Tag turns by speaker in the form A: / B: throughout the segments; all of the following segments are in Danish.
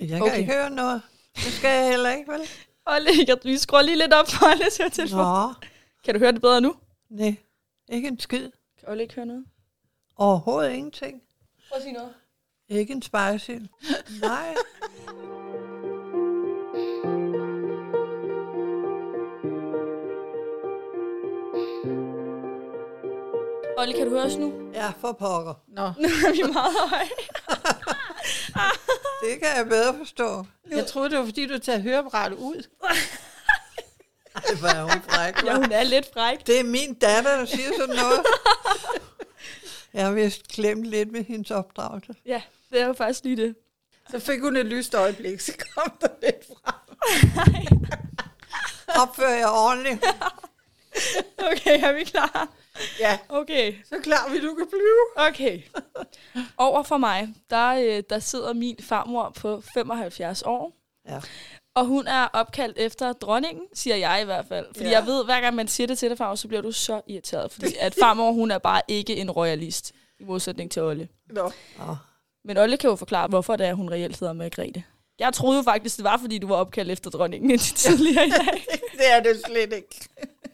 A: Jeg kan okay. ikke høre noget. Det skal jeg heller ikke, vel?
B: Olle, jeg, vi skruer lige lidt op for Olles høretelefon. Nå.
A: Nå,
B: Kan du høre det bedre nu?
A: nej. Ikke en skid.
B: Kan Olle ikke høre noget?
A: Overhovedet ingenting.
B: Prøv at sige noget.
A: Ikke en spejsild. Nej.
B: Olle, kan du høre os nu?
A: Ja, for pokker.
C: Nå,
B: vi er meget høje.
A: Det kan jeg bedre forstå.
C: jeg troede, det var fordi, du tager høreapparatet ud.
A: Ej, hvor er hun fræk.
B: Ja,
A: hva'?
B: hun er lidt fræk.
A: Det er min datter, der siger sådan noget. Jeg har vist klemt lidt med hendes opdragelse.
B: Ja, det er jo faktisk lige det.
C: Så fik hun et lyst øjeblik, så kom der lidt fra.
A: Opfører jeg ordentligt?
B: Okay, er vi klar?
C: Ja,
B: Okay.
C: så klar vi, du kan flyve.
B: Okay. Over for mig, der, øh, der sidder min farmor på 75 år.
A: Ja.
B: Og hun er opkaldt efter dronningen, siger jeg i hvert fald. Fordi ja.
C: Ja.
B: jeg ved, hver gang man siger det til dig, farmor, så bliver du så irriteret. Fordi at farmor, hun er bare ikke en royalist, i modsætning til Olle.
C: Nå,
A: Nå.
B: Men Olle kan jo forklare, hvorfor det er, hun reelt hedder Margrethe. Jeg troede jo faktisk, det var, fordi du var opkaldt efter dronningen indtil tidligere i dag.
C: det er det slet ikke.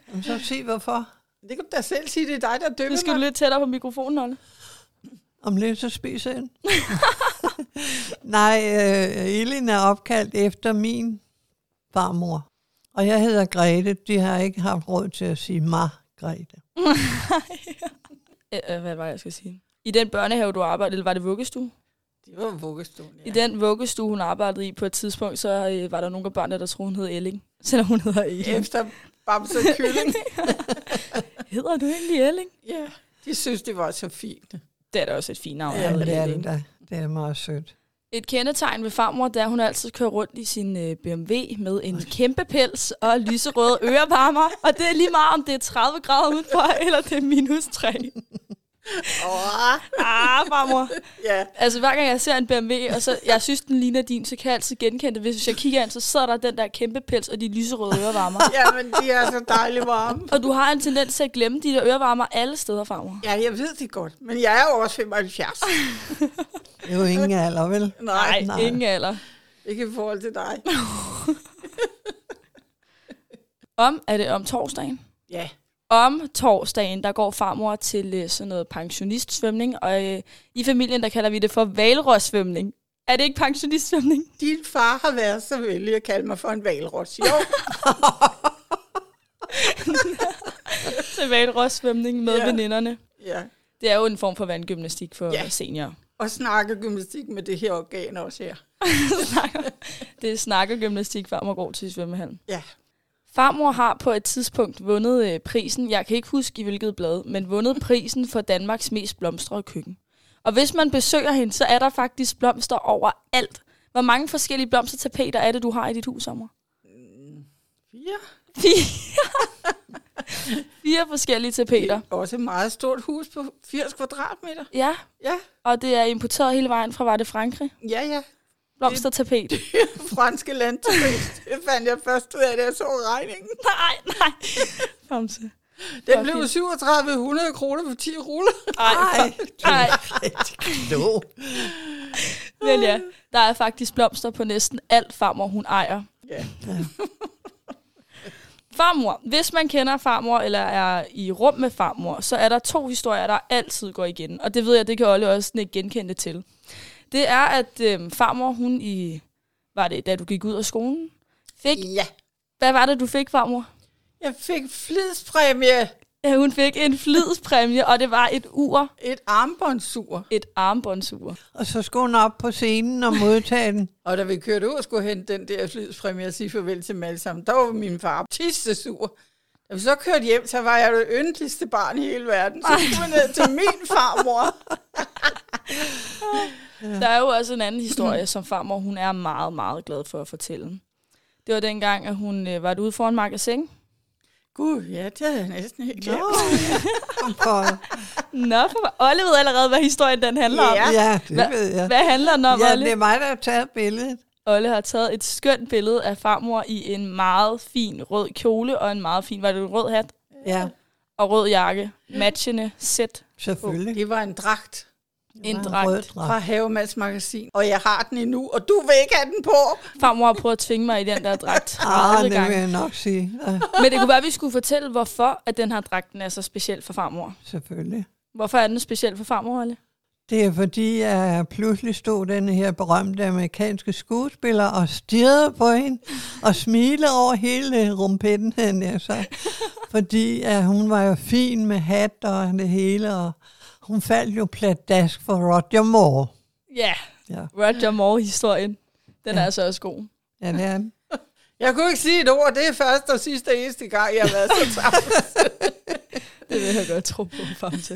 A: Jamen, så sig hvorfor.
C: Det kan du da selv sige, det er dig, der
B: Nu
C: dømmer
B: skal du lidt tættere på mikrofonen, Olle.
A: Om lidt så spiser jeg den. Nej, øh, Elin er opkaldt efter min farmor. Og jeg hedder Grete. De har ikke haft råd til at sige Margrethe.
B: Øh, øh, hvad var det, jeg skal sige? I den børnehave, du arbejdede, eller var det vuggestue?
C: Det var vuggestuen,
B: I den vuggestue, hun arbejdede i på et tidspunkt, så øh, var der nogle af børnene, der troede, hun hed Elling. Selvom hun hedder Elling.
C: Efter Bamse og Kylling.
B: Hedder du egentlig Elling?
C: ja, de synes, det var så fint.
B: Det er da også et fint navn.
A: Ja,
B: at hedde
A: det er
B: Elling.
A: det da. Det er meget sødt.
B: Et kendetegn ved farmor, det er, at hun altid kører rundt i sin øh, BMW med en kæmpe pels og lyserøde ørevarmer. Og det er lige meget, om det er 30 grader udenfor, eller det er minus 3.
C: Åh,
B: Ah, farmor.
C: ja.
B: Altså, hver gang jeg ser en BMW, og så, jeg synes, den ligner din, så kan jeg altid genkende det. Hvis jeg kigger ind, så sidder der den der kæmpe pels og de lyserøde ørevarmer.
C: ja, men de er så dejligt varme.
B: Og du har en tendens til at glemme de der ørevarmer alle steder, farmor.
C: Ja, jeg ved det godt, men jeg er jo også 75.
A: Det er jo ingen alder, vel?
C: Nej,
B: Nej, ingen alder.
C: ikke i forhold til dig.
B: Om er det om torsdagen.
C: Ja,
B: Om torsdagen, der går farmor til øh, sådan noget pensionistsvømning, og øh, i familien, der kalder vi det for valrøssvømning. Er det ikke pensionistsvømning?
C: din far har været så vældig at kalde mig for en valros. Jo,
B: Til valrøssvømning med ja.
C: Ja.
B: veninderne.
C: ja.
B: Det er jo en form for vandgymnastik for ja.
C: Ja.
B: seniorer.
C: Og snakke gymnastik med det her organ også her.
B: det er snakkergymnastik, farmor går til i svømmehallen.
C: Ja,
B: Farmor har på et tidspunkt vundet øh, prisen, jeg kan ikke huske i hvilket blad, men vundet prisen for Danmarks mest blomstrede køkken. Og hvis man besøger hende, så er der faktisk blomster overalt. Hvor mange forskellige blomstertapeter er det, du har i dit hus, Ammer?
C: fire.
B: Fire. Fire forskellige tapeter.
C: Også et meget stort hus på 80 kvadratmeter.
B: Ja,
C: Ja,
B: og det er importeret hele vejen fra, var det Frankrig?
C: ja, ja.
B: Blomstertapet.
C: Franske landturister. Det fandt jeg først ud af, da jeg så regningen.
B: nej, nej. Famse.
C: Den
B: Hvor
C: blev
B: fint.
C: 3700 kroner for 10 ruller.
B: Ej, nej.
A: Nå.
B: Vel ja, der er faktisk blomster på næsten alt farmor, hun ejer.
C: Ja.
B: Farmor. Hvis man kender farmor eller er i rum med farmor, så er der to historier, der altid går igen. Og det ved jeg, det kan Olle også ikke genkende til. Det er, at øhm, farmor, hun i... Var det, da du gik ud af skolen? Fik,
C: ja.
B: hvad var det, du fik, farmor?
C: Jeg fik flidspræmie.
B: Ja, hun fik en flidspræmie, og det var et ur.
C: Et armbåndsur.
B: Et armbåndsur.
A: Og så skulle hun op på scenen og modtage den.
C: Og da vi kørte ud og skulle hente den der flidspræmie og sige farvel til dem alle sammen, der var min far tisse sur. Da vi så kørte hjem, så var jeg det yndeligste barn i hele verden. Så skulle jeg ned til min farmor.
B: Der er jo også en anden historie, som farmor hun er meget, meget glad for at fortælle. Det var dengang, at hun øh, var ude foran magasin.
C: Gud, ja, det havde jeg næsten helt
A: Nå,
C: glemt.
A: kom for.
B: Nå, for Olle ved allerede, hvad historien den handler om.
C: Ja.
A: Ja, det
B: Hva-
A: ved jeg.
B: Hvad handler den om,
A: Ja,
B: Olle?
A: det er mig, der har taget billedet.
B: Olle har taget et skønt billede af farmor i en meget fin rød kjole og en meget fin, var det en rød hat?
A: Ja,
B: Og rød jakke. Matchende sæt.
A: selvfølgelig.
C: Det var en dragt.
B: En
A: Det var
B: dragt.
A: rød
C: fra
A: dragt.
C: Havemands Magasin, og jeg har den endnu, og du vil ikke have den på.
B: Farmor har prøvet at tvinge mig i den der dragt 30
A: Ah, det
B: gange.
A: vil jeg nok sige. Ja,
B: Men det kunne være, at vi skulle fortælle, hvorfor at den her dragten er så speciel for farmor.
A: selvfølgelig.
B: Hvorfor er den speciel for farmor, Olle?
A: Det er fordi, at pludselig stod den her berømte amerikanske skuespiller og stirrede på hende og smilede over hele rumpetten, havde jeg sagt. Fordi at hun var jo fin med hat og det hele, og hun faldt jo pladask for Roger Moore.
B: Ja,
A: Ja,
B: Roger Moore-historien. Den ja. er altså også god.
A: ja det er den.
C: Jeg kunne ikke sige et ord, det er første og sidste og eneste gang, jeg har været så travlt.
B: Det vil jeg godt tro på, Famse.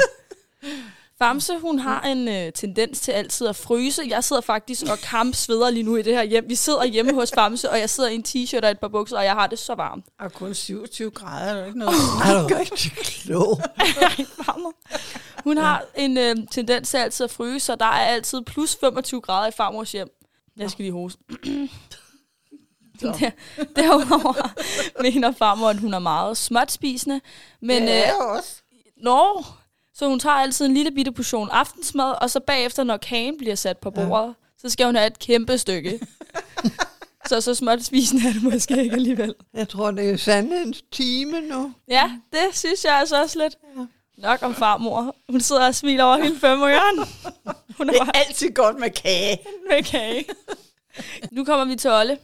B: Famse, hun har en øh, tendens til altid at fryse. Jeg sidder faktisk og kampsveder lige nu i det her hjem. Vi sidder hjemme hos Famse, og jeg sidder i en t-shirt og et par bukser, og jeg har det så varmt.
C: Og kun 27 grader, er der ikke noget?
A: Er du rigtig klog?
B: Ej, farmor. Hun har en øh, tendens til altid at fryse, så der er altid plus 25 grader i farmors hjem. Jeg skal lige hoste. Der, derudover mener farmor, at hun er meget småtspisende, men
C: det
B: øh,
C: er jeg også.
B: Nå, så hun tager altid en lille bitte portion aftensmad, og så bagefter, når kagen bliver sat på bordet, ja. så skal hun have et kæmpe stykke. så så småt spisende er det måske ikke alligevel.
A: Jeg tror, det er sandhedens time nu.
B: Ja, det synes jeg altså også lidt. Nok om farmor. Hun sidder og smiler over hele femøren. Hun er
C: Det
B: bare
C: er altid godt med kage.
B: med kage. Nu kommer vi til Olle.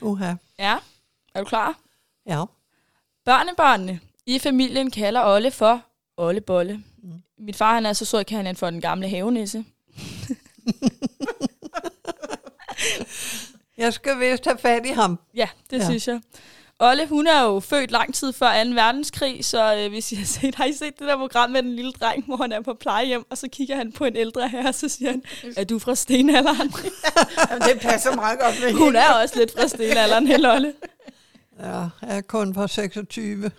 A: Uha.
B: Ja, er du klar?
A: Ja.
B: Børnebørnene i familien kalder Olle for Olle Bolle. Mit far han er så sød, kan han for den gamle havenisse.
A: Jeg skal vist have fat i ham.
B: Ja, det ja.
A: Ja.
B: synes jeg. Olle, hun er jo født lang tid før 2. verdenskrig, så øh, hvis I har set, har I set det der program med den lille dreng, hvor han er på plejehjem, og så kigger han på en ældre herre, og så siger han, er du fra stenalderen?
C: Jamen, det passer meget godt med
B: hun
C: hende.
B: er også lidt fra stenalderen, held Olle.
A: Ja, jeg er kun fra 26.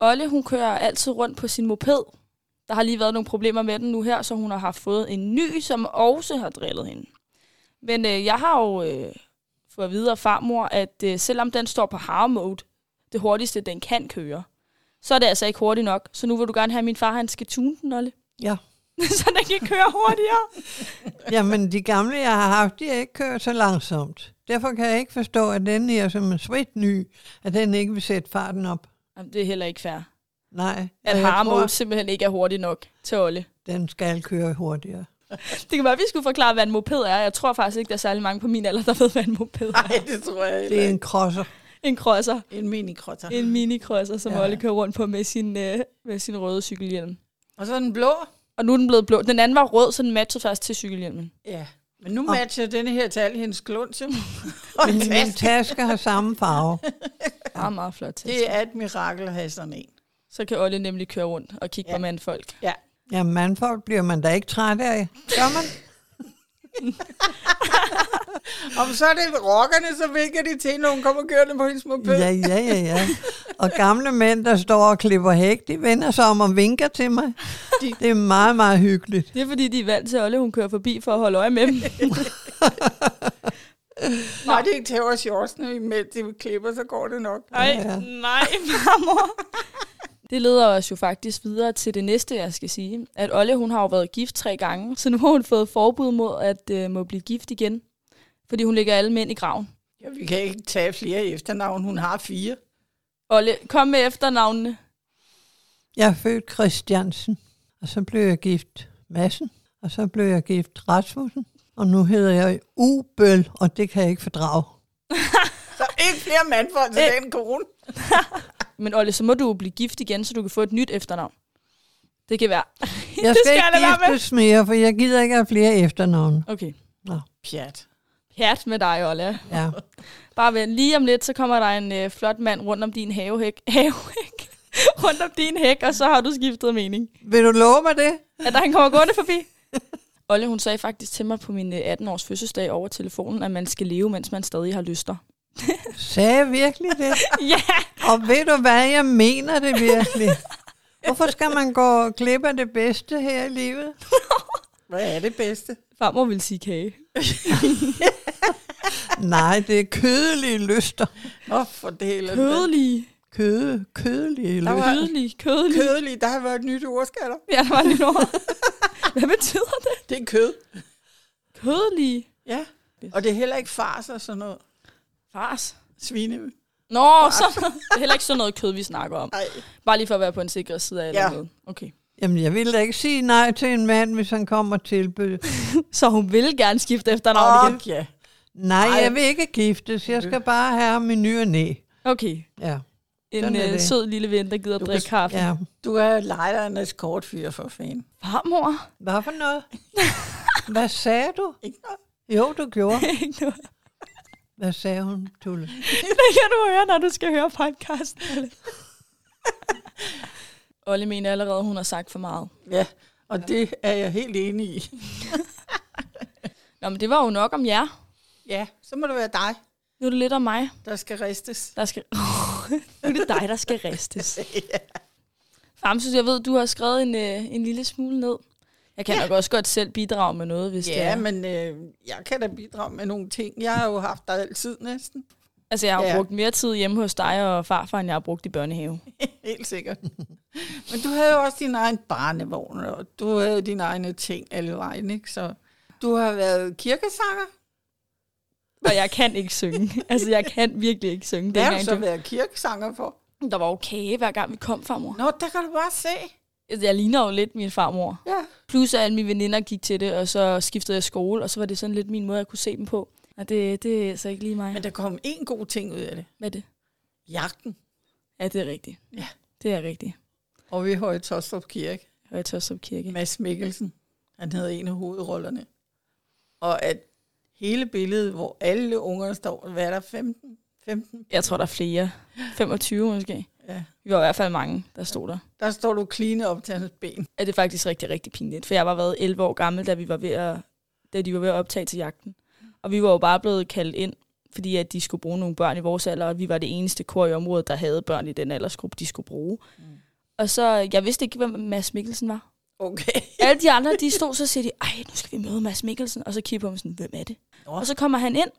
B: Olle, hun kører altid rundt på sin moped. Der har lige været nogle problemer med den nu her, så hun har haft fået en ny, som også har drillet hende. Men øh, jeg har jo øh, fået at vide af farmor, at øh, selvom den står på hard mode, det hurtigste, den kan køre, så er det altså ikke hurtigt nok. Så nu vil du gerne have, at min far han skal tune den, Olle.
A: Ja.
B: så den kan køre hurtigere.
A: Jamen, de gamle, jeg har haft, de har ikke kørt så langsomt. Derfor kan jeg ikke forstå, at den her, som er svidt ny, at den ikke vil sætte farten op.
B: Jamen, det er heller ikke fair.
A: Nej,
B: At
A: og jeg
B: hard
A: tror,
B: mode simpelthen ikke er hurtig nok til Olle.
A: den skal køre hurtigere.
B: Det kan være, at vi skulle forklare, hvad en moped er. Jeg tror faktisk ikke, der er særlig mange på min alder, der ved, hvad en moped er.
C: Nej, det tror jeg
A: Det er
C: ikke.
A: en crosser.
B: En crosser.
C: En minikrotter.
B: En minikrosser, som ja.
A: Ja.
B: Olle kører rundt på med sin, øh, med sin røde cykelhjelm.
C: Og så den blå.
B: Og nu er den blevet blå. Den anden var rød, så den matchede faktisk til cykelhjelmen.
C: Ja. Men nu matcher denne her tal hendes klunse. Og
A: Men min
C: det-
A: taske har samme farve.
B: Ja. Meget, meget flot til.
C: det er et mirakel at have sådan en.
B: Så kan Olle nemlig køre rundt og kigge ja.
C: Ja.
B: på mandfolk.
C: Ja.
A: Jamen, mandfolk bliver man da ikke træt af. Gør man?
C: Om så er det rockerne, så vinker de til, når hun kommer kørende på hendes moped.
A: Ja, ja, ja, ja. Og gamle mænd, der står og klipper hæk, de vender sig om og vinker til mig.
C: De-
A: Det er meget, meget hyggeligt.
B: Det er fordi, de er vant til, at Olle hun kører forbi for at holde øje med dem.
C: Bare de ikke tæver shortsene imens de klipper, så går det nok.
B: Nej,
A: Ja.
B: nej, mamma. Det leder os jo faktisk videre til det næste, jeg skal sige. At Olle, hun har jo været gift tre gange, så nu har hun fået forbud mod at øh, må blive gift igen. Fordi hun lægger alle mænd i graven.
C: Ja, vi kan ikke tage flere efternavn. Hun har fire.
B: Olle, kom med efternavnene.
A: Jeg er født Christiansen, og så blev jeg gift Massen, og så blev jeg gift Rasmussen, og nu hedder jeg Ubøl, og det kan jeg ikke fordrage.
C: Så ikke flere mandfolk til den kone.
B: Men Olle, så må du jo blive gift igen, så du kan få et nyt efternavn. Det kan være.
A: Jeg
B: Det
A: skal,
B: skal jeg
A: ikke
B: lade være med.
A: giftes mere, for jeg gider ikke have flere efternavne.
B: Okay.
C: Pjat.
B: Hjert med dig, Olle.
A: Ja.
B: Bare vent. Lige om lidt, så kommer der en øh, flot mand rundt om din havehæk. Havehæk? rundt om din hæk, og så har du skiftet mening.
A: Vil du love mig det?
B: At der han kommer gående forbi. Olle, hun sagde faktisk til mig på min øh, 18-års fødselsdag over telefonen, at man skal leve, mens man stadig har lyster.
A: Sagde jeg virkelig det?
B: ja!
A: Og ved du hvad, jeg mener det virkelig. Hvorfor skal man gå glip af det bedste her i livet?
C: Hvad er det bedste?
B: Farmor vil sige kage.
A: Nej, det er kødelige lyster.
C: Nå, for det hele.
B: Kødelige.
A: køde, kødelige
C: Der
A: løs.
C: var-
B: Kødelig, kødelig.
C: Kødelig, der har været et nyt ordskaller.
B: Ja, der var lige noget. Hvad betyder det?
C: Det er kød.
B: Kødelig.
C: Ja. Og det er heller ikke fars og sådan noget.
B: Fars.
C: Svine.
B: Nå, så det er heller ikke sådan noget kød, vi snakker om.
C: Nej.
B: Bare lige for at være på en sikker side af eller
C: Ja.
B: noget. Okay.
A: Jamen, jeg ville da ikke sige nej til en mand, hvis han kommer og tilbyder.
B: Så hun vil gerne skifte efternavn
C: Åh,
B: igen.
C: ja.
A: Nej,
C: Ej.
A: jeg vil ikke giftes. Jeg skal bare have ham i ny og næ.
B: Okay.
A: Ja,
B: En
A: Sådan er
B: øh,
A: det.
B: sød lille ven, der gider at drikke kaffe.
A: ja.
C: Du er lejdernes kortfyr for fanden.
B: Farmor?
A: Hvad for noget? Hvad sagde du?
C: Ikke noget.
A: Jo, du gjorde.
B: Ikke noget.
A: Hvad sagde hun, Tulle?
B: Det kan du høre, når du skal høre podcast. Olle mener allerede, hun har sagt for meget.
C: Ja, og det er jeg helt enig i.
B: Nå, men det var jo nok om jer.
C: Ja, så må det være dig,
B: Nu er det lidt om mig.
C: der skal ristes.
B: Der skal... nu er det dig, der skal ristes. Famsus, jeg ved, du har skrevet en, øh, en lille smule ned. Jeg kan ja. nok også godt selv bidrage med noget, hvis det
C: Ja,
B: er.
C: men øh, jeg kan da bidrage med nogle ting. Jeg har jo haft dig altid næsten.
B: Altså, jeg har ja.
C: Ja.
B: brugt mere tid hjemme hos dig og farfar, end jeg har brugt i børnehave.
C: Helt sikkert. Men du havde jo også din egen barnevogn, og du havde dine egne ting alle vejen, ikke? Så du har været kirkesanger.
B: Og jeg kan ikke synge. Altså, jeg kan virkelig ikke synge.
C: Hvad
B: er
C: har du
B: engang
C: så været kirkesanger for?
B: Der var jo kage, hver gang vi kom, farmor.
C: Nå, der kan du bare se.
B: Altså, Jeg ligner jo lidt min farmor.
C: Ja.
B: Plus at alle mine veninder gik til det, og så skiftede jeg skole, og så var det sådan lidt min måde, jeg kunne se dem på. Og det, det er altså ikke lige mig.
C: Men der kom en god ting ud af det.
B: Hvad er det?
C: Jagten.
B: Ja, det er rigtigt.
C: Ja.
B: Det er rigtigt.
C: Og vi har i Tostrup Kirke.
B: Og jeg tør som kirke.
C: Mads Mikkelsen. Han havde en af hovedrollerne. Og at hele billedet, hvor alle ungerne står, hvad er der, 15? 15?
B: Jeg tror, der er flere. 25 måske.
C: Ja.
B: Vi var i hvert fald mange, der stod der.
C: Der står du kline op til hans ben.
B: Ja, det er faktisk rigtig, rigtig pinligt. For jeg var været 11 år gammel, da, vi var ved at, da de var ved at optage til jagten. Og vi var jo bare blevet kaldt ind, fordi at de skulle bruge nogle børn i vores alder, og vi var det eneste kor i området, der havde børn i den aldersgruppe, de skulle bruge. Mm. Og så, jeg vidste ikke, hvem Mads Mikkelsen var.
C: Okay.
B: Alle de andre, de stod, så siger de, ej, nu skal vi møde Mads Mikkelsen. Og så kigger jeg på ham sådan, hvem er det?
C: Nå.
B: Og så kommer han ind,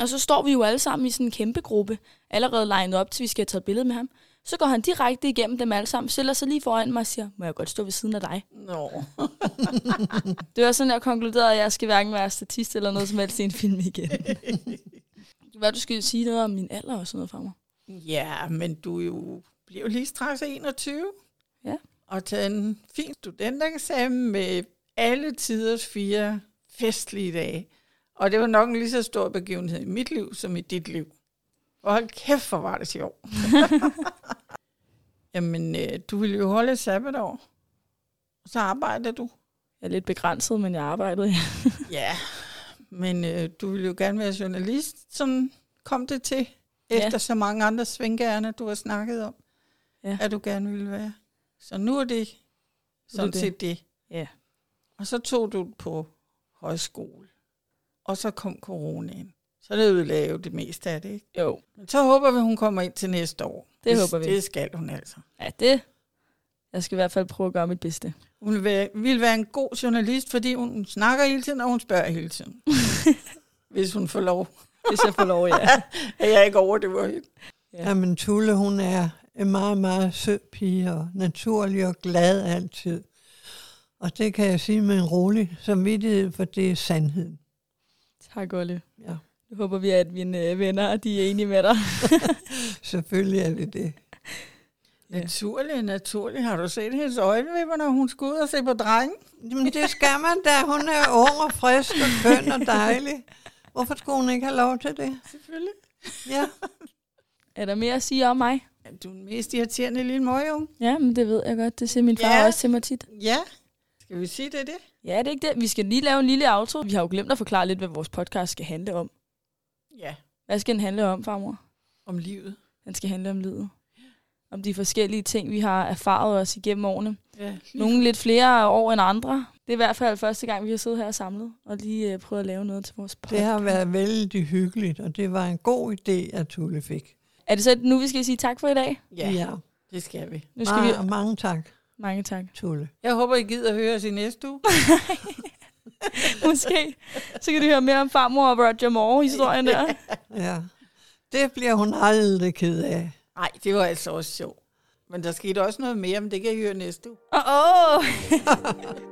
B: og så står vi jo alle sammen i sådan en kæmpe gruppe, allerede legnet op, til vi skal have taget billede med ham. Så går han direkte igennem dem alle sammen, stiller sig lige foran mig og siger, må jeg godt stå ved siden af dig?
C: Nå.
B: Det var sådan, jeg konkluderede, at jeg skal hverken være statist eller noget som helst i en film igen. Hvad du skulle sige noget om min alder og sådan noget for mig.
C: Ja, men du er jo blev lige straks 21.
B: Ja.
C: Og taget en fin studentereksamen med alle tiders fire festlige dage. Og det var nok en lige så stor begivenhed i mit liv som i dit liv. Og hold kæft, hvor var det sjovt. Jamen, øh, du ville jo holde et sabbatår. Og så arbejder du.
B: Jeg er lidt begrænset, men jeg arbejdede. ja.
C: Ja, men øh, du ville jo gerne være journalist, sådan kom det til, efter
B: Ja.
C: så mange andre svingærner, du har snakket om,
B: Ja.
C: ja. at du gerne ville være. Så nu er det sådan
B: det.
C: set det.
B: Ja.
C: Og så tog du på højskole, og så kom coronaen. Så det ødelagde jo det meste af det, ikke?
B: Jo,
C: Men så håber vi, hun kommer ind til næste år.
B: Det håber vi.
C: Det skal hun altså.
B: ja det. Jeg skal i hvert fald prøve at gøre mit bedste.
C: Hun vil være, vil være en god journalist, fordi hun snakker hele tiden, og hun spørger hele tiden. Hvis hun får lov.
B: Hvis jeg får lov, ja.
C: at jeg ikke overdøver hende.
B: Ja.
A: Jamen, Tulle, hun er en meget, meget sød pige og naturlig og glad altid. Og det kan jeg sige med en rolig samvittighed, for det er sandheden.
B: Tak, Olle.
A: Ja,
B: Nu håber vi, at mine øh, venner de er enige med dig.
A: selvfølgelig er det det.
B: Ja.
C: Naturlig, naturlig. Har du set hendes øjenvipper, når hun skulle ud og se på drengen?
A: Jamen, det skal man da. Hun er ung og frisk og køn og dejlig. Hvorfor skulle hun ikke have lov til det?
C: Selvfølgelig.
A: Ja.
B: Er der mere at sige om mig?
C: Ja, du er den mest irriterende lille møgung.
B: Ja, men det ved jeg godt. Det siger min far
C: Ja.
B: også til mig tit.
C: Ja. Skal vi sige det, er det?
B: Ja, det er ikke det. Vi skal lige lave en lille outro. Vi har jo glemt at forklare lidt, hvad vores podcast skal handle om.
C: Ja.
B: Hvad skal den handle om, farmor?
C: Om livet.
B: Den skal handle om livet. Om de forskellige ting, vi har erfaret os igennem årene.
C: Ja.
B: Nogle lidt flere år end andre. Det er i hvert fald første gang, vi har siddet her og samlet og lige øh, prøvet at lave noget til vores
A: Det
B: podcast.
A: har været vældig hyggeligt, og det var en god idé, at Tulle fik.
B: Er det så nu, vi skal sige tak for i dag?
C: Ja, ja, det skal vi.
B: Nu skal vi...
A: Mange, mange tak,
B: Mange tak.
A: Tulle.
C: Jeg håber, I gider at høre os i næste uge.
B: Måske. Så kan du høre mere om farmor og Roger Moore-historien der.
A: Ja. Det bliver hun aldrig ked af.
C: Nej, det var altså også sjovt. Men der skete også noget mere, men det kan I høre næste uge.
B: Åh, oh, oh.